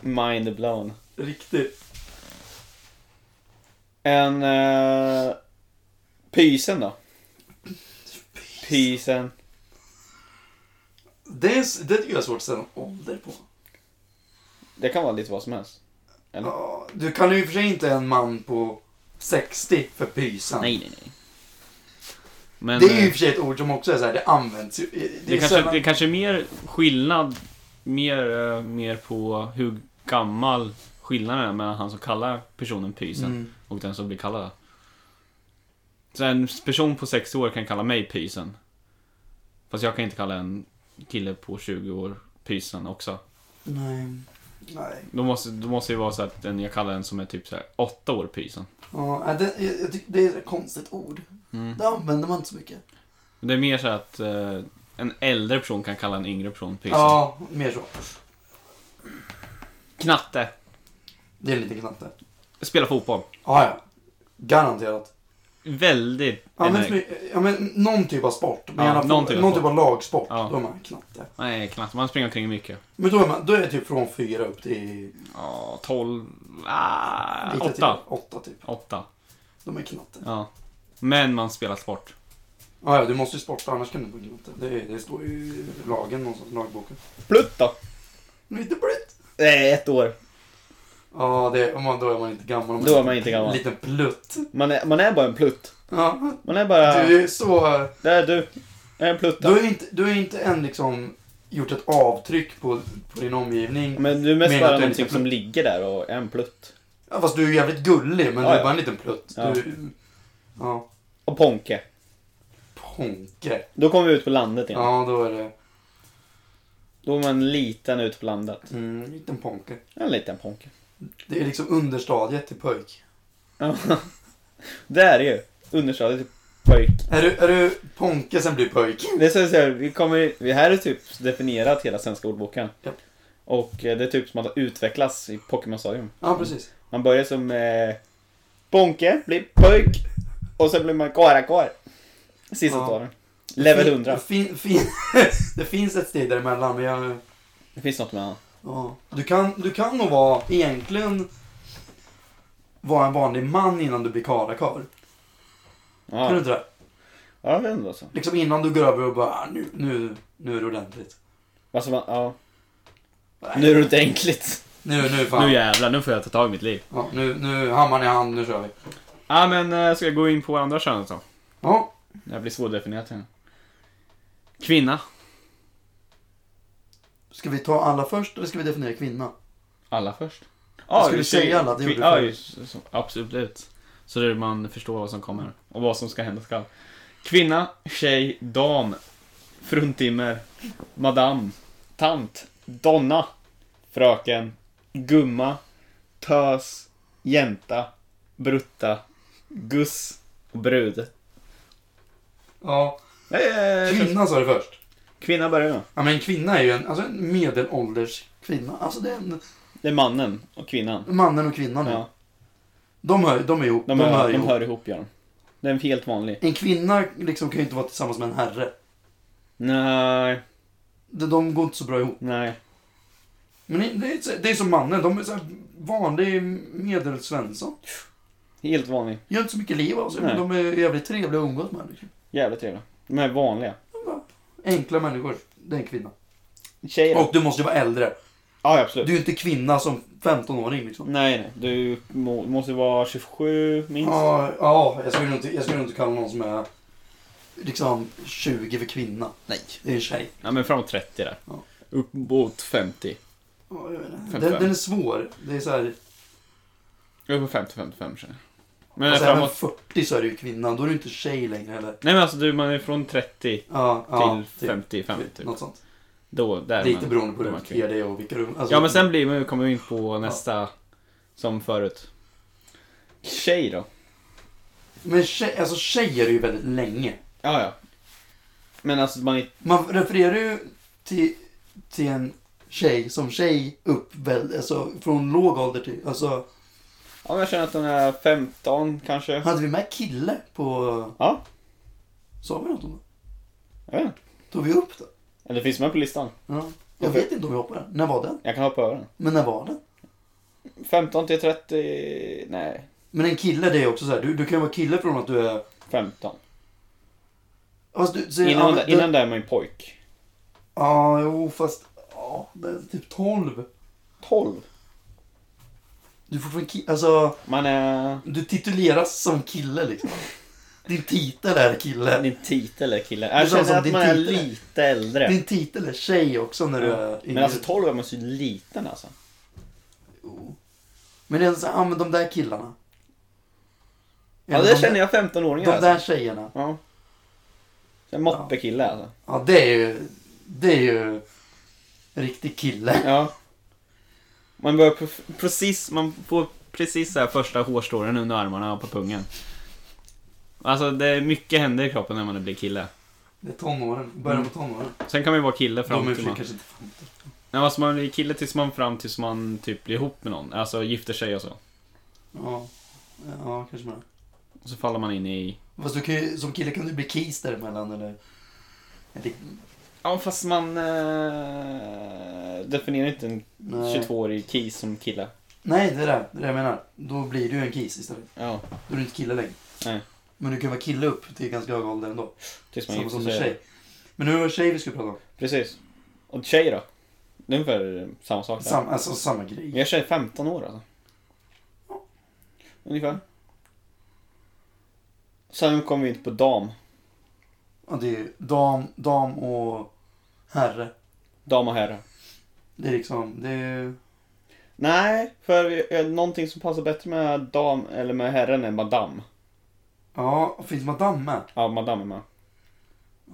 S3: bara,
S2: mind blown.
S3: riktigt.
S2: En... eh, pysen då? Pysen.
S3: Det, är, s- det tycker jag är svårt att sätta en ålder på.
S2: Det kan vara lite vad som helst. Eller?
S3: Ja, du kan ju i och för sig inte en man på 60 för pysan.
S4: Nej, nej, nej. Men
S3: det är ju i
S4: eh,
S3: och för sig ett ord som också är så här, det används ju. Det,
S4: det,
S3: är
S4: kanske,
S3: sällan-
S4: det kanske är mer skillnad, mer, eh, mer på hur gammal skillnaden är mellan han som kallar personen pysen
S3: Mm.
S4: och den som blir kallad. Så en person på 60 år kan kalla mig pysen. Fast jag kan inte kalla en kille på 20 år pysen också.
S3: Nej. Nej.
S4: Då måste, då måste det ju vara så att den jag kallar den som är typ så här 8 år pysen.
S3: Ja, nej, det, jag, jag tycker det är ett konstigt ord.
S4: Mm.
S3: Det använder man inte så mycket.
S4: Det är mer så att eh, en äldre person kan kalla en yngre person pysen.
S3: Ja, mer så.
S4: Knatte.
S3: Det är en liten knatte.
S4: Spela fotboll.
S3: Ja, ja. Garanterat.
S4: Väldigt
S3: Ja men,
S4: energi-
S3: smy- ja, men någon typ av sport.
S4: Ja,
S3: Men i alla fall, någon
S4: någon
S3: typ
S4: typ
S3: av,
S4: av sport.
S3: lagsport.
S4: Ja.
S3: Då är man knatte.
S4: Nej, knappt. Man springer omkring mycket.
S3: Men då är, man, då är det typ från fyra upp till...
S4: Ja, 12... Ah,
S3: lite till-
S4: 8.
S3: Åtta typ.
S4: 8.
S3: De är knatte.
S4: Ja. Men man spelar sport.
S3: Ja, ja, du måste ju sporta annars kan du inte bli knatte. Det, det står ju i lagen någonstans, lagboken.
S2: Plutt då?
S3: Men inte blött!
S2: Nej, ett år.
S3: Ja, det, om man, då är man inte gammal. Om
S2: Då är man inte gammal.
S3: En liten plutt.
S2: Man är, man är bara en plutt.
S3: Ja,
S2: Man är bara...
S3: du är så...
S2: Där är du. Jag är en plutt.
S3: Du har ju inte, du har ju inte än liksom gjort ett avtryck på, på din omgivning.
S2: Men du är mest
S3: Menar att du
S2: bara
S3: är
S2: någonting
S3: lite
S2: som ligger där och är en plutt.
S3: Ja, fast du är ju jävligt gullig, men
S2: Ja,
S3: du är
S2: ja.
S3: bara en liten plutt.
S2: Ja.
S3: Du, ja,
S2: Och Ponke.
S3: ponke.
S2: Då kommer vi ut på landet igen.
S3: Ja, då är det
S2: Då är man liten ute på landet.
S3: mm, en liten ponke.
S2: En liten Ponke.
S3: Det är liksom understadiet till pojk.
S2: Ja. det är det ju. Understadiet till pojk.
S3: Är du, är du ponke sen blir pojk?
S2: Det är så att säga, vi kommer, vi här är typ definierat hela svenska ordboken.
S3: Ja.
S2: Och eh, det är typ som att utvecklas i Pokémon Stadium.
S3: Ja, precis.
S2: Man börjar som eh, Bonke, blir pojk och sen blir man karakar. Sista
S3: Ja.
S2: talen. Level
S3: Fin-
S2: 100.
S3: Fin, fin, det finns ett steg däremellan, men jag...
S2: Det finns något med han.
S3: Ja. Du, kan, du kan nog vara, egentligen, vara en vanlig man innan du blir karakar. Kan du
S2: Ja,
S3: inte det?
S2: ja jag vet inte alltså.
S3: Liksom innan du går över och bara, "Ah, nu, nu, nu är det ordentligt.
S2: alltså man, ja.
S3: Nej.
S2: Nu är det ordentligt.
S3: Nu, nu fan.
S4: Nu
S3: Nu,
S4: jävlar, nu får jag ta tag i mitt liv.
S3: ja, nu, nu hammaren i hand, nu kör vi.
S4: Ja, men eh, ska jag gå in på andra könet då?
S3: Ja,
S4: Det här blir svårdefinierat igen. Kvinna.
S3: ska vi ta alla först eller ska vi definiera kvinna?
S4: Alla först.
S3: Jag skulle säga alla, det gjorde du
S4: ja,
S3: förut.
S4: just- så- Absolut. Så det är man förstår vad som kommer och vad som ska hända skall. Kvinna, tjej, dam, fruntimmer, madam,
S2: Tant, donna, fröken, gumma, tös, jänta, brutta, guss och brud.
S3: Ja.
S2: Eh,
S3: Kvinna sa du först.
S2: Kvinna börjar nu.
S3: Ja men en kvinna är ju en, alltså en medelålders kvinna. Alltså det är en,
S2: Det är mannen och kvinnan.
S3: mannen och kvinnan nu.
S2: Ja,
S3: De hör, de är ihop,
S2: de, hör, de
S3: ihop.
S2: hör ihop gör de. Det är en helt vanlig.
S3: En kvinna liksom kan ju inte vara tillsammans med en herre.
S2: Nej,
S3: De, de går inte så bra ihop.
S2: nej.
S3: Men det- det är, så- det är som mannen, de är så här vanlig medelsvensson.
S2: Helt vanlig.
S3: Gör inte så mycket liv av sig, men
S2: Nej.
S3: de är jävligt trevliga att umgås med. Liksom.
S2: Jävligt trevliga. De är vanliga.
S3: Enkla människor. Det är en kvinna.
S2: Tjejer då?
S3: Och du måste ju vara äldre.
S2: Ja,
S3: Du
S2: absolut.
S3: är ju inte kvinna som 15-åring liksom.
S2: Nej, nej. Du må, måste vara 27 minst.
S3: Ja, ja jag, skulle nog inte, jag skulle nog inte kalla någon som är liksom 20 för kvinna.
S2: Nej.
S3: Det är en tjej.
S4: ja men framåt 30 där.
S3: Ja.
S4: Upp mot 50.
S3: Ja, jag vet inte. Den,
S4: 55.
S3: den är svår. Det är så här,
S4: Upp mot 50, 55 kanske. Men
S3: alltså, även
S4: framåt.
S3: 40 så är du ju kvinna. Då är du inte tjej längre heller.
S4: Nej men alltså du, man är från 30
S3: Ja, ja,
S4: till 55 typ.
S3: Något sånt.
S4: Då, där
S3: Lite
S4: man,
S3: beroende på
S4: då
S3: hur
S4: är man
S3: du
S4: kvinna.
S3: beter dig och vilka du... Alltså,
S4: Ja men sen blir man, kommer vi in på nästa som förut.
S2: Tjej då?
S3: men tjej, alltså, tjej är du ju väldigt länge.
S2: Ja, ja. Men alltså man är...
S3: Man refererar ju till, till en tjej som tjej upp väl, alltså från låg ålder till, alltså
S2: Ja, men jag känner att hon är 15 kanske.
S3: hade vi med kille på,
S2: Ja,
S3: sa vi något om det?
S2: jag vet inte.
S3: Tog vi upp det?
S2: Eller finns med på listan.
S3: Ja. Jag
S2: Okej.
S3: vet inte om jag hoppade den. När var den?
S2: Jag kan hoppa över den.
S3: Men när var den?
S2: 15 till 30... Nej,
S3: Men en kille det är också så här, du, du kan ju vara kille från att du är,
S2: 15.
S3: Fast du, så,
S2: Innan,
S3: ja, men-
S2: innan där är man ju pojk.
S3: Ja, jo, fast... Ja, det är typ 12.
S2: 12.
S3: Du får från ki- Alltså,
S2: Man är...
S3: du tituleras som kille liksom. Din titel är kille.
S2: Din titel är kille.
S3: Det
S2: Jag
S3: är samma
S2: känner
S3: som
S2: att
S3: din
S2: man är
S3: titel.
S2: lite äldre.
S3: Din titel är tjej också när du är
S2: Men
S3: yngre.
S2: alltså 12 är man så liten alltså.
S3: Men det är så, ja men de där killarna.
S2: Ja, det känner jag 15-åringar
S3: De
S2: alltså.
S3: där tjejerna.
S2: Ja. En moppekille alltså.
S3: Ja, det är ju... Det är ju... Riktig kille.
S2: Ja.
S4: Man börjar pre- precis, man får precis så här första hårstrån under armarna och på pungen. Alltså det är mycket händer i kroppen när man blir kille.
S3: Det är tonåren. Början på
S2: Mm.
S3: tonåren.
S4: Sen kan man ju vara kille fram
S3: De är
S4: till
S3: för
S4: man...
S3: kanske inte 15.
S4: Nej, alltså man blir kille tills man fram tills man typ blir ihop med någon. Alltså gifter sig och så.
S3: Ja. Ja, kanske man
S4: Och så faller man in i...
S3: Fast du kan ju, som kille kan du bli kis däremellan eller... eller
S2: Ja, fast man eh, definierar inte en
S3: nej.
S2: 22-årig kis som kille.
S3: Nej, det är det, det är det jag menar. Då blir du en kis istället.
S2: Ja,
S3: Då är du inte kille längre.
S2: Nej.
S3: Men du kan vara kille upp till ganska hög ålder ändå.
S2: tills man
S3: Samma
S2: gifter
S3: som med
S2: sig.
S3: tjej. Men nu var det tjej vi skulle prata om.
S2: Precis. Och tjej då? Det är ungefär samma sak där.
S3: Sam, alltså samma grej.
S2: Jag är tjej 15 år alltså. Ungefär. Sen kom vi in på dam.
S3: Ja, det är dam, dam och herre.
S2: Dam och herre.
S3: Det är liksom, det är...
S2: Nej, för vi- eh, någonting som passar bättre med dam eller med herren är madam.
S3: Ja, finns madame med?
S2: Ja, madam är med.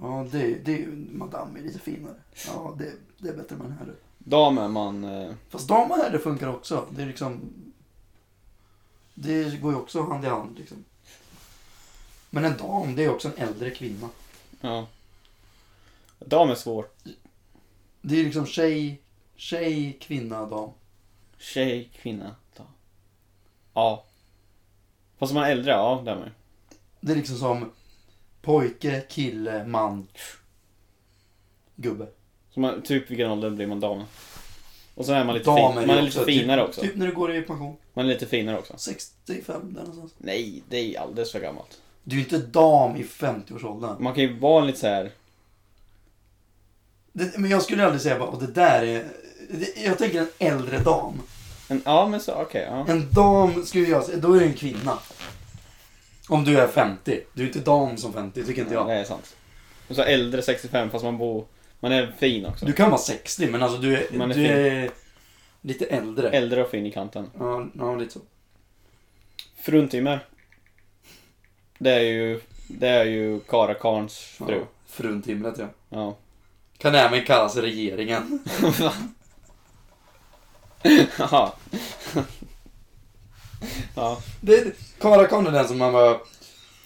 S3: Ja, det, det är madame är lite finare. Ja, det, det är bättre med en herre.
S2: Dam är man... Eh,
S3: Fast dam och herre funkar också. Det är liksom... Det går ju också hand i hand liksom. Men en dam, det är också en äldre kvinna.
S2: ja. Dam är svårt.
S3: Det är liksom tjej, tjej, kvinna, dam.
S2: Tjej, kvinna, dam. Ja. Fast om man är äldre, ja det är man ju.
S3: Det är liksom som pojke, kille, man, gubbe.
S2: Så man, typ vilken ålder blir man dam? Och sen är man lite,
S3: Dam
S2: fin,
S3: ju
S2: man är lite
S3: också
S2: finare
S3: typ,
S2: också.
S3: Typ när du går i pension.
S2: Man är lite finare också.
S3: 65 där någonstans.
S2: Nej, det är alldeles för gammalt.
S3: Du är ju inte dam i 50-årsåldern.
S2: Man kan ju vara lite så här.
S3: Det- Men jag skulle aldrig säga bara, "Åh, det där är... det- Jag tänker en äldre dam.
S2: En, ja men så, okej. ja.
S3: En dam skulle jag säga, då är det en kvinna. Om du är 50. Du är inte dam som 50, tycker inte
S2: ja.
S3: jag.
S2: Det är sant. Och så äldre 65 fast man bor, man är fin också.
S3: Du kan vara 60, men alltså du är,
S2: Man är
S3: du
S2: fin.
S3: är lite äldre.
S2: Äldre och fin i kanten.
S3: Ja, ja, lite så.
S2: Fruntimmer. Det är ju, det är ju Karakarns fru.
S3: Ja, fruntimret, ja.
S2: Ja.
S3: Kan även kallas regeringen.
S2: Jaha. ja.
S3: Det är, Karakon är den som man bara...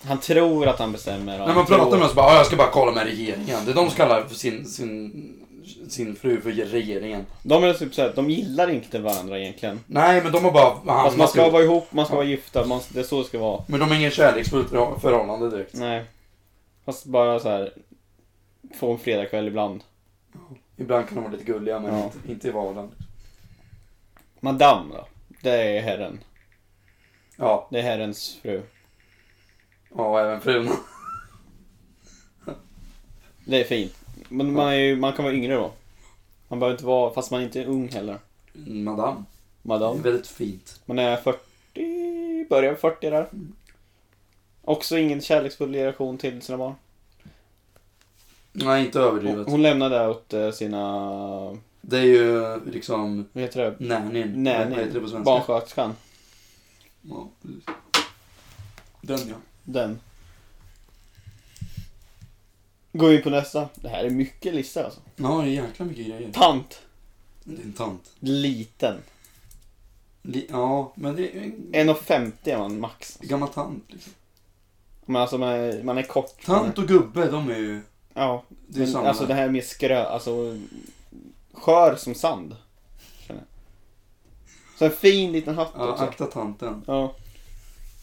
S2: Han tror att han bestämmer. och
S3: När
S2: han
S3: man pratar
S2: tror-
S3: med oss bara, "Ja, jag ska bara kolla med regeringen. Det är de som kallar för sin, sin, sin fru för regeringen.
S2: De är typ såhär, de gillar inte varandra egentligen.
S3: Nej, men de har bara
S2: Fast man
S3: hamnat
S2: ska
S3: ihop.
S2: vara ihop, man ska vara gifta, man, det är så det ska vara.
S3: Men de har ingen kärleksfullt förhå- förhållande direkt.
S2: Nej. Fast bara så här. Få en fredagkväll ibland.
S3: Ibland kan de vara lite gulliga, men
S2: Ja.
S3: inte, inte i vardagen.
S2: Madame då. Det är herren.
S3: Ja,
S2: Det är herrens fru.
S3: ja, och även frun.
S2: Det är fint. Men man, är ju, man kan vara yngre då. Man behöver inte vara, fast man är inte ung heller.
S3: Madame. Det är
S2: Madame.
S3: väldigt fint.
S2: Man är 40, börjar 40 där.
S3: Mm.
S2: Också ingen kärleksfull relation till sina barn.
S3: Nej, inte
S2: Hon,
S3: överdrivet.
S2: hon lämnar det åt eh, sina,
S3: Det är ju liksom
S2: vad heter det?
S3: nannyn.
S2: Nej,
S3: Vad heter Mm. det på
S2: nej.
S3: svenska?
S2: Barnsköterskan.
S3: Ja, precis. Den ja.
S2: Den. Går vi in på nästa. Det här är mycket listor alltså.
S3: Ja, det är jäkla mycket grejer.
S2: Tant.
S3: Det är en tant.
S2: Liten.
S3: Li- ja, men det är en
S2: 1,50 är man max.
S3: gammal tant. Liksom.
S2: Men alltså man är, man är kort. Man är,
S3: Tant och gubbe, de är ju...
S2: ja.
S3: Det är
S2: Men,
S3: samma.
S2: alltså det här är mer skrö, alltså skör som sand. Känner jag. Så en fin liten hatt
S3: ja,
S2: också.
S3: akta tanten.
S2: Ja.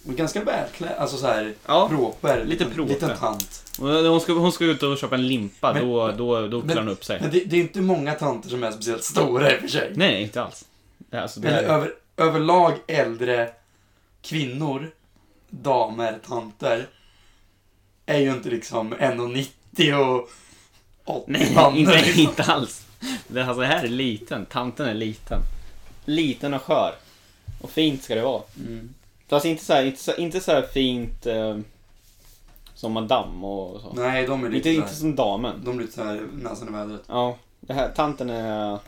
S3: Men ganska välklädd, alltså så här
S4: Ja.
S3: proper. liksom,
S4: Lite
S3: liten-
S4: proper.
S3: Liten tant.
S4: Och Hon ska, hon ska ut och köpa en limpa,
S3: Men-
S4: då, då, då
S3: men-
S4: klär hon upp sig.
S3: Men det, det är inte många tanter som är speciellt stora i och för sig.
S4: Nej, inte alls. Det, är alltså, det
S3: Eller
S4: är,
S3: över, överlag äldre kvinnor, damer, tanter är ju inte liksom 1,90 90 och liksom. 80
S2: Nej,
S3: man.
S2: inte, inte alls. Det, alltså, det här är liten. Tanten är liten. Liten och skör. Och fint ska det vara.
S3: Mm.
S2: Fast inte så här, inte så, inte så här fint eh, som madame och så.
S3: Nej, de är
S2: inte,
S3: lite,
S2: inte
S3: inte,
S2: som damen.
S3: de är lite så här näsan i vädret.
S2: Ja, det här, tanten är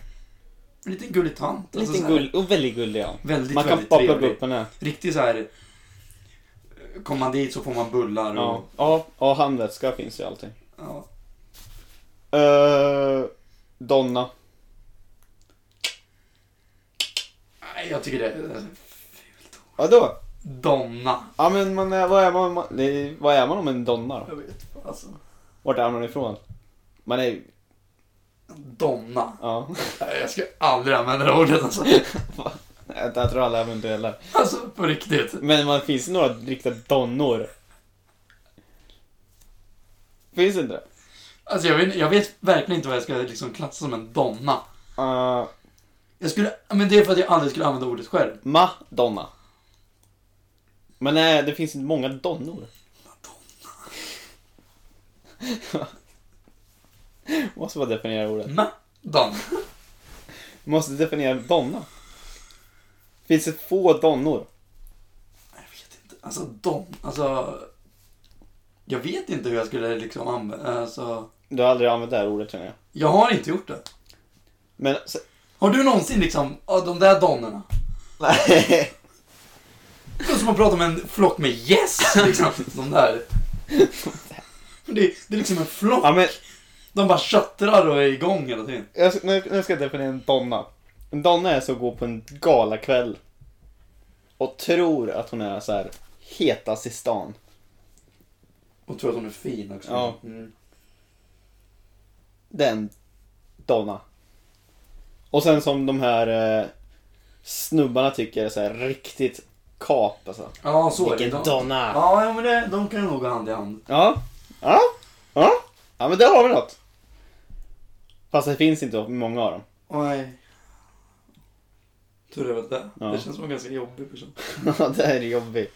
S3: En liten gullig tant.
S2: lite
S3: alltså så här,
S2: gull, och väldigt gullig. Ja.
S3: Väldigt,
S2: Man kan
S3: väldigt
S2: bara plocka
S3: trevlig.
S2: upp henne.
S3: Riktigt så här. eh, Kommer man dit så får man bullar och...
S2: Ja,
S3: Ja.
S2: ja, ja handväska finns ju alltid.
S3: ja.
S2: Eh, Donna.
S3: Nej, jag tycker det är alltså, fult.
S2: Vadå?
S3: Donna.
S2: Ja men man är, vad, är man, man, det är- vad är man om en donna då?
S3: Jag vet fan, alltså.
S2: Vart är man ifrån? Man är
S3: Donna.
S2: ja.
S3: Nej, jag ska aldrig använda det ordet alltså.
S2: Jag, jag tror alla använder det heller.
S3: Alltså på riktigt.
S2: Men man finns ju några riktiga donnor. Finns det inte det?
S3: Alltså jag vet, jag vet verkligen inte vad jag ska liksom klassa som en donna.
S2: Uh,
S3: Jag skulle, men det är för att jag aldrig skulle använda ordet själv.
S2: Madonna. Men nej, det finns inte många donnor. Måste bara definiera ordet.
S3: Ma. Donna.
S2: Måste definiera donna. Finns det få donnor?
S3: Jag vet inte. Alltså dom. Alltså. Jag vet inte hur jag skulle liksom använda, alltså.
S2: Du har aldrig använt det här ordet känner jag.
S3: Jag har inte gjort det.
S2: Men... Så,
S3: Har du någonsin liksom, ja, de där donnorna?
S2: nej.
S3: Det är som att prata med en flock med gäss liksom. De där. Det, det är liksom en flock.
S2: Ja, men
S3: De bara tjattrar och är igång hela tiden.
S2: jag, ska- nu, nu ska jag definiera en donna. En donna är så att gå på en galakväll och tror att hon är så här hetast i stan.
S3: Och tror att hon är fin också.
S2: Ja.
S3: Mm.
S2: Den donna. Och sen som de här eh, snubbarna tycker är så här riktigt kap alltså.
S3: Ja, så är
S2: Vilken
S3: det.
S2: donna!
S3: Ja, ja, men det, de kan nog gå hand i hand.
S2: Ja. Ja. Ja. Ja men där har vi något. Fast det finns inte många av dem.
S3: Nej. Tur det var det.
S2: Ja.
S3: Det känns som en ganska jobbig person.
S2: det här är jobbigt.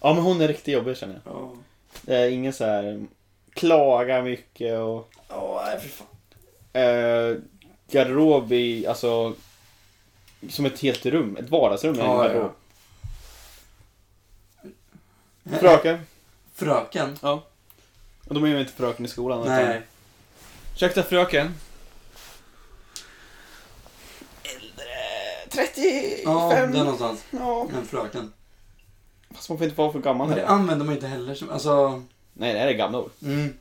S2: Ja men hon är riktigt jobbig känner jag.
S3: Ja.
S2: Det är ingen så här klagar mycket och
S3: Ja, nej för fan.
S2: eh, garderob i, alltså som ett helt rum, ett vardagsrum är en
S3: Ja,
S2: garderob.
S3: ja.
S2: Fröken.
S3: Fröken?
S2: Och de är ju inte fröken i skolan. utan-
S3: Nej.
S4: Ursäkta fröken.
S2: Eh, 35.
S3: Ja, där någonstans.
S2: ja.
S3: En fröken.
S2: Fast man får inte vara för gammal
S3: Men det
S2: heller.
S3: använder man inte heller som, alltså.
S2: Nej det här är gamla ord.
S3: Mm.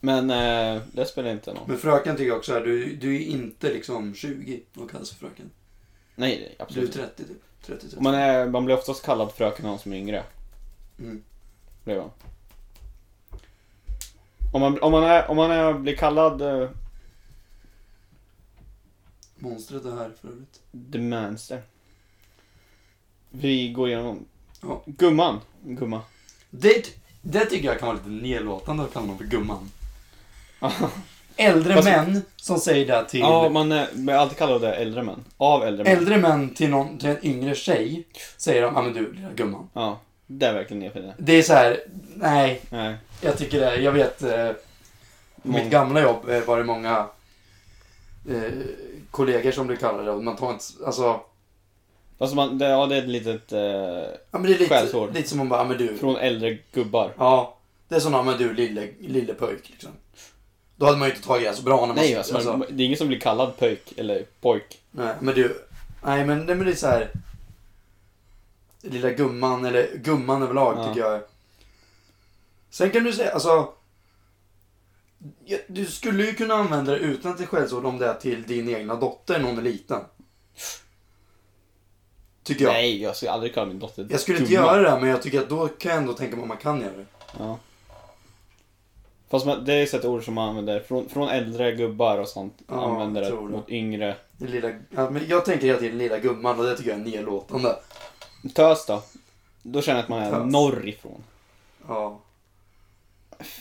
S2: Men eh, det spelar inte någon.
S3: Men fröken tycker jag också är, du, du är inte liksom 20 och kallas för fröken.
S2: Nej, nej
S3: Du är
S2: absolut inte.
S3: 30 typ. 30, 30.
S2: Man, är, man blir oftast kallad fröken av någon som är yngre.
S3: Mm.
S2: Blev han. Om man, om man, är, om man är, blir kallad eh,
S3: Monstret är här för övrigt.
S2: The Manster. Vi går igenom.
S3: Ja.
S2: Gumman. Gumma.
S3: Det, det tycker jag kan vara lite nedlåtande att kalla någon för gumman. Äldre
S2: Fast-
S3: män som säger det till...
S2: Alltså- Ja, man är, man är alltid kallad det äldre män. Av äldre män.
S3: Äldre män till, någon, till en yngre tjej säger de, ja men du lilla gumman.
S2: Ja, det är verkligen nedfint.
S3: Det är så här, nej,
S2: Nej.
S3: jag tycker det, jag vet, eh, på
S2: Många-
S3: mitt gamla jobb eh, var det många eh, kollegor som blev kallade och man tar inte, alltså,
S2: Alltså man, det, ja, det är ett litet... Eh,
S3: ja men det är lite,
S2: Skällsord.
S3: lite som man bara, ja men du,
S2: från äldre gubbar.
S3: ja, det är som, ja men du lille, lille pojk liksom. Då hade man ju inte tagit det så bra när man,
S2: Nej, alltså, man, det är ingen som blir kallad pöjk eller pojk.
S3: Nej, men du. Nej, men, nej, men det är så här. Lilla gumman, eller gumman överlag
S2: Ja.
S3: tycker jag. är- Sen kan du säga, alltså. ja, Du skulle ju kunna använda det utan till skällsord om det är till din egna dotter när hon är liten. Tycker jag.
S2: Nej, jag skulle aldrig kalla min dotter
S3: jag skulle inte
S2: gumma.
S3: göra det, men jag tycker att då kan jag ändå tänka mig att man kan göra det.
S2: Ja. Fast man, det är ju ett ord som man använder från, från äldre gubbar och sånt.
S3: Ja,
S2: använder
S3: jag
S2: det
S3: tror det.
S2: mot yngre.
S3: Den lilla, ja, men jag tänker hela tiden lilla gumman och det tycker jag är nedlåtande.
S2: Tös då? Då känner jag att man är
S3: Tös.
S2: norrifrån.
S3: Ja.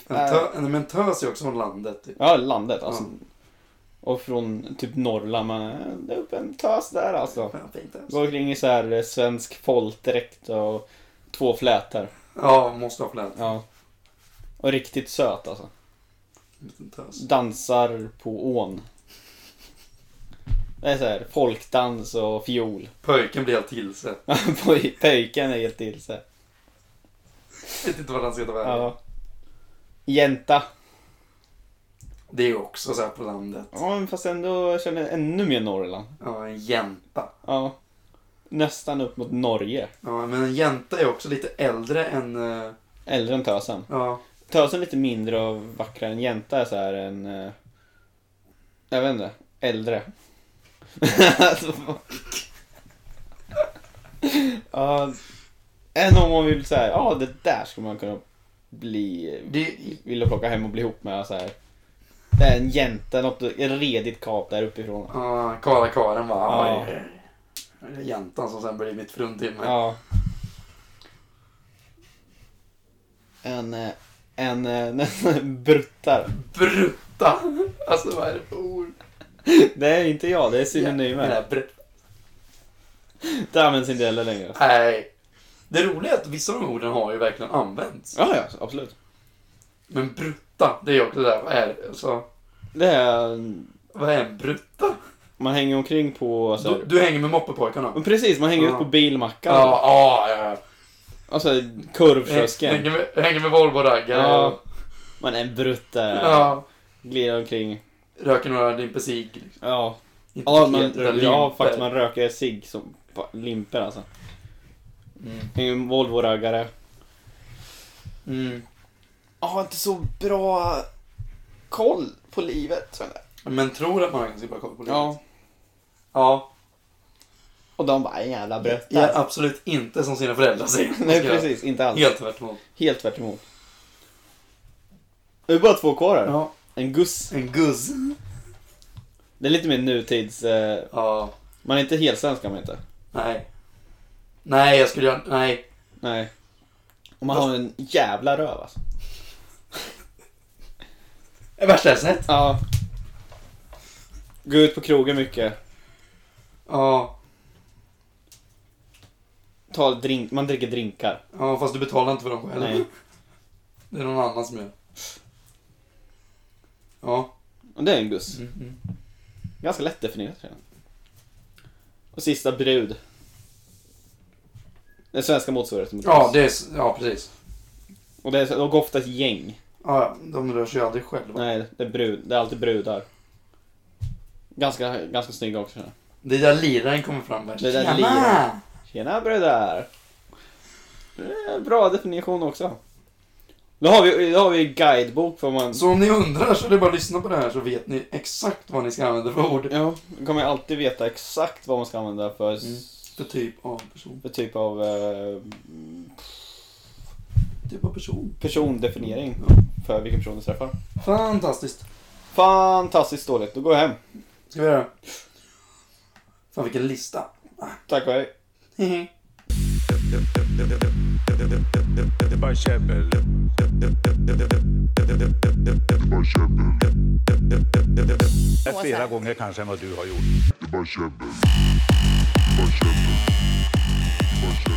S3: En tö,
S2: Äh.
S3: en, men en tös är också från landet. Typ.
S2: Ja, landet alltså. Och från typ Norrland, man är det är upp en tös där alltså.
S3: Fan, fin tös.
S2: Går omkring i så här eh, svensk folkdräkt och två flätor.
S3: Ja, måste ha flät.
S2: Ja. Och riktigt söt alltså.
S3: Liten tös.
S2: dansar på ån. Det är så här, folkdans och fiol.
S3: Pöjken blir helt till sig.
S2: Poj- Pöjken är helt till sig.
S3: Vet inte vad han ska ta vägen.
S2: Ja. Jänta.
S3: Det är ju också så här på landet.
S2: Ja, men fast ändå jag känner ännu mer Norrland.
S3: Ja, en jänta.
S2: Ja. Nästan upp mot Norge.
S3: Ja, men en jänta är också lite äldre än... eh,
S2: Äldre än tösen.
S3: Ja,
S2: Tösen är lite mindre och vackrare än jänta är så här en... eh, Jag vet inte. Äldre. alltså, vad- Ja, Än om man vill så här, ja det där skulle man kunna bli...
S3: Det-
S2: Vilja plocka hem och bli ihop med så här. Det är en jänta, något ett redigt kap där uppifrån.
S3: ja Kara Karen bara...
S2: Ja.
S3: Ja. Jäntan som sen blir mitt fruntimmer.
S2: Ja. En... eh, En eh, nästan bruttare.
S3: Brutta! Alltså vad är det för ord?
S2: Det är inte jag, det är synonymer.
S3: Jävla br-
S2: Det används inte heller längre.
S3: Nej. Det roliga är att vissa av de orden har ju verkligen använts.
S2: Ja, ja, absolut. Men
S3: Men brutta, det är ju också det där, vad är det? Alltså,
S2: det är...
S3: vad är en brutta?
S2: Man hänger omkring på... Så här,
S3: Du, du hänger med moppepojkarna?
S2: Men precis, man hänger
S3: Ja.
S2: ut på bilmackar.
S3: Ja, ja, ja.
S2: Alltså
S3: Jag
S2: kurvkiosken.
S3: Hänger med, jag hänger med Volvo-raggare.
S2: Ja.
S3: Ja.
S2: Man är en brutt där. Glider omkring.
S3: Röker några limper cigg. liksom.
S2: Ja.
S3: Inte
S2: Ja, man,
S3: paket, utan
S2: ja,
S3: limper.
S2: faktiskt. Man röker cigg som pa- limper alltså.
S3: Mm.
S2: Hänger med Volvo-raggare.
S3: Mm.
S2: Jag har inte så bra koll på livet.
S3: Men tror att man har ganska bra koll på livet.
S2: Ja.
S3: ja.
S2: Och de bara, en jävla brött
S3: Ja,
S2: alltså.
S3: absolut inte som sina föräldrar säger.
S2: Nej, precis. Inte alls.
S3: Helt tvärtom.
S2: Helt tvärt emot. Det är bara två kvar här.
S3: Ja.
S2: En guss.
S3: En guzz.
S2: Det är lite mer nutids... Eh,
S3: Ja.
S2: man är inte helt svensk man inte.
S3: Nej. Nej, jag skulle göra... Nej.
S2: Nej. Och man har en jävla röv alltså.
S3: Det värsta jag har sett.
S2: Ja. Gå ut på krogen mycket.
S3: Ja.
S2: Ta drink, man dricker drinkar.
S3: ja, fast du betalar inte för dem själv.
S2: Nej.
S3: Det är någon annan som gör. Ja.
S2: Och det är en guss.
S3: Mm,
S2: Ganska lättdefinierat redan. Och sista brud. Den svenska motsvarigheten till
S3: Ja,
S2: guss.
S3: det är... s- Ja, precis.
S2: Och det är, de går ofta ett gäng.
S3: Ja, ja, de rör sig ju aldrig själva.
S2: Nej, det är, brud, det är alltid brudar. Ganska, ganska snygga också. känner jag.
S3: Det är där liraren kommer fram värst.
S2: Det är där
S3: Tjena!
S2: liraren. Tjena brudar! Det är en Bra definition också. Då har vi, då har vi guidebok för man...
S3: Så om ni undrar så är det bara att lyssna på det här så vet ni exakt vad ni ska använda för ord.
S2: Ja, då kommer jag alltid veta exakt vad man ska använda för, s-
S3: Mm. För typ av person.
S2: för typ av eh,
S3: Typ av person.
S2: persondefiniering för vilken person du träffar.
S3: Fantastiskt.
S2: Fantastiskt dåligt, då går jag hem.
S3: Ska vi göra? Fan vilken lista.
S2: Tack och hej.
S3: Hehe.
S1: Det är bara käbbel. Det är flera gånger kanske än vad du har gjort.
S5: Başa ben. Başa ben. Başa ben.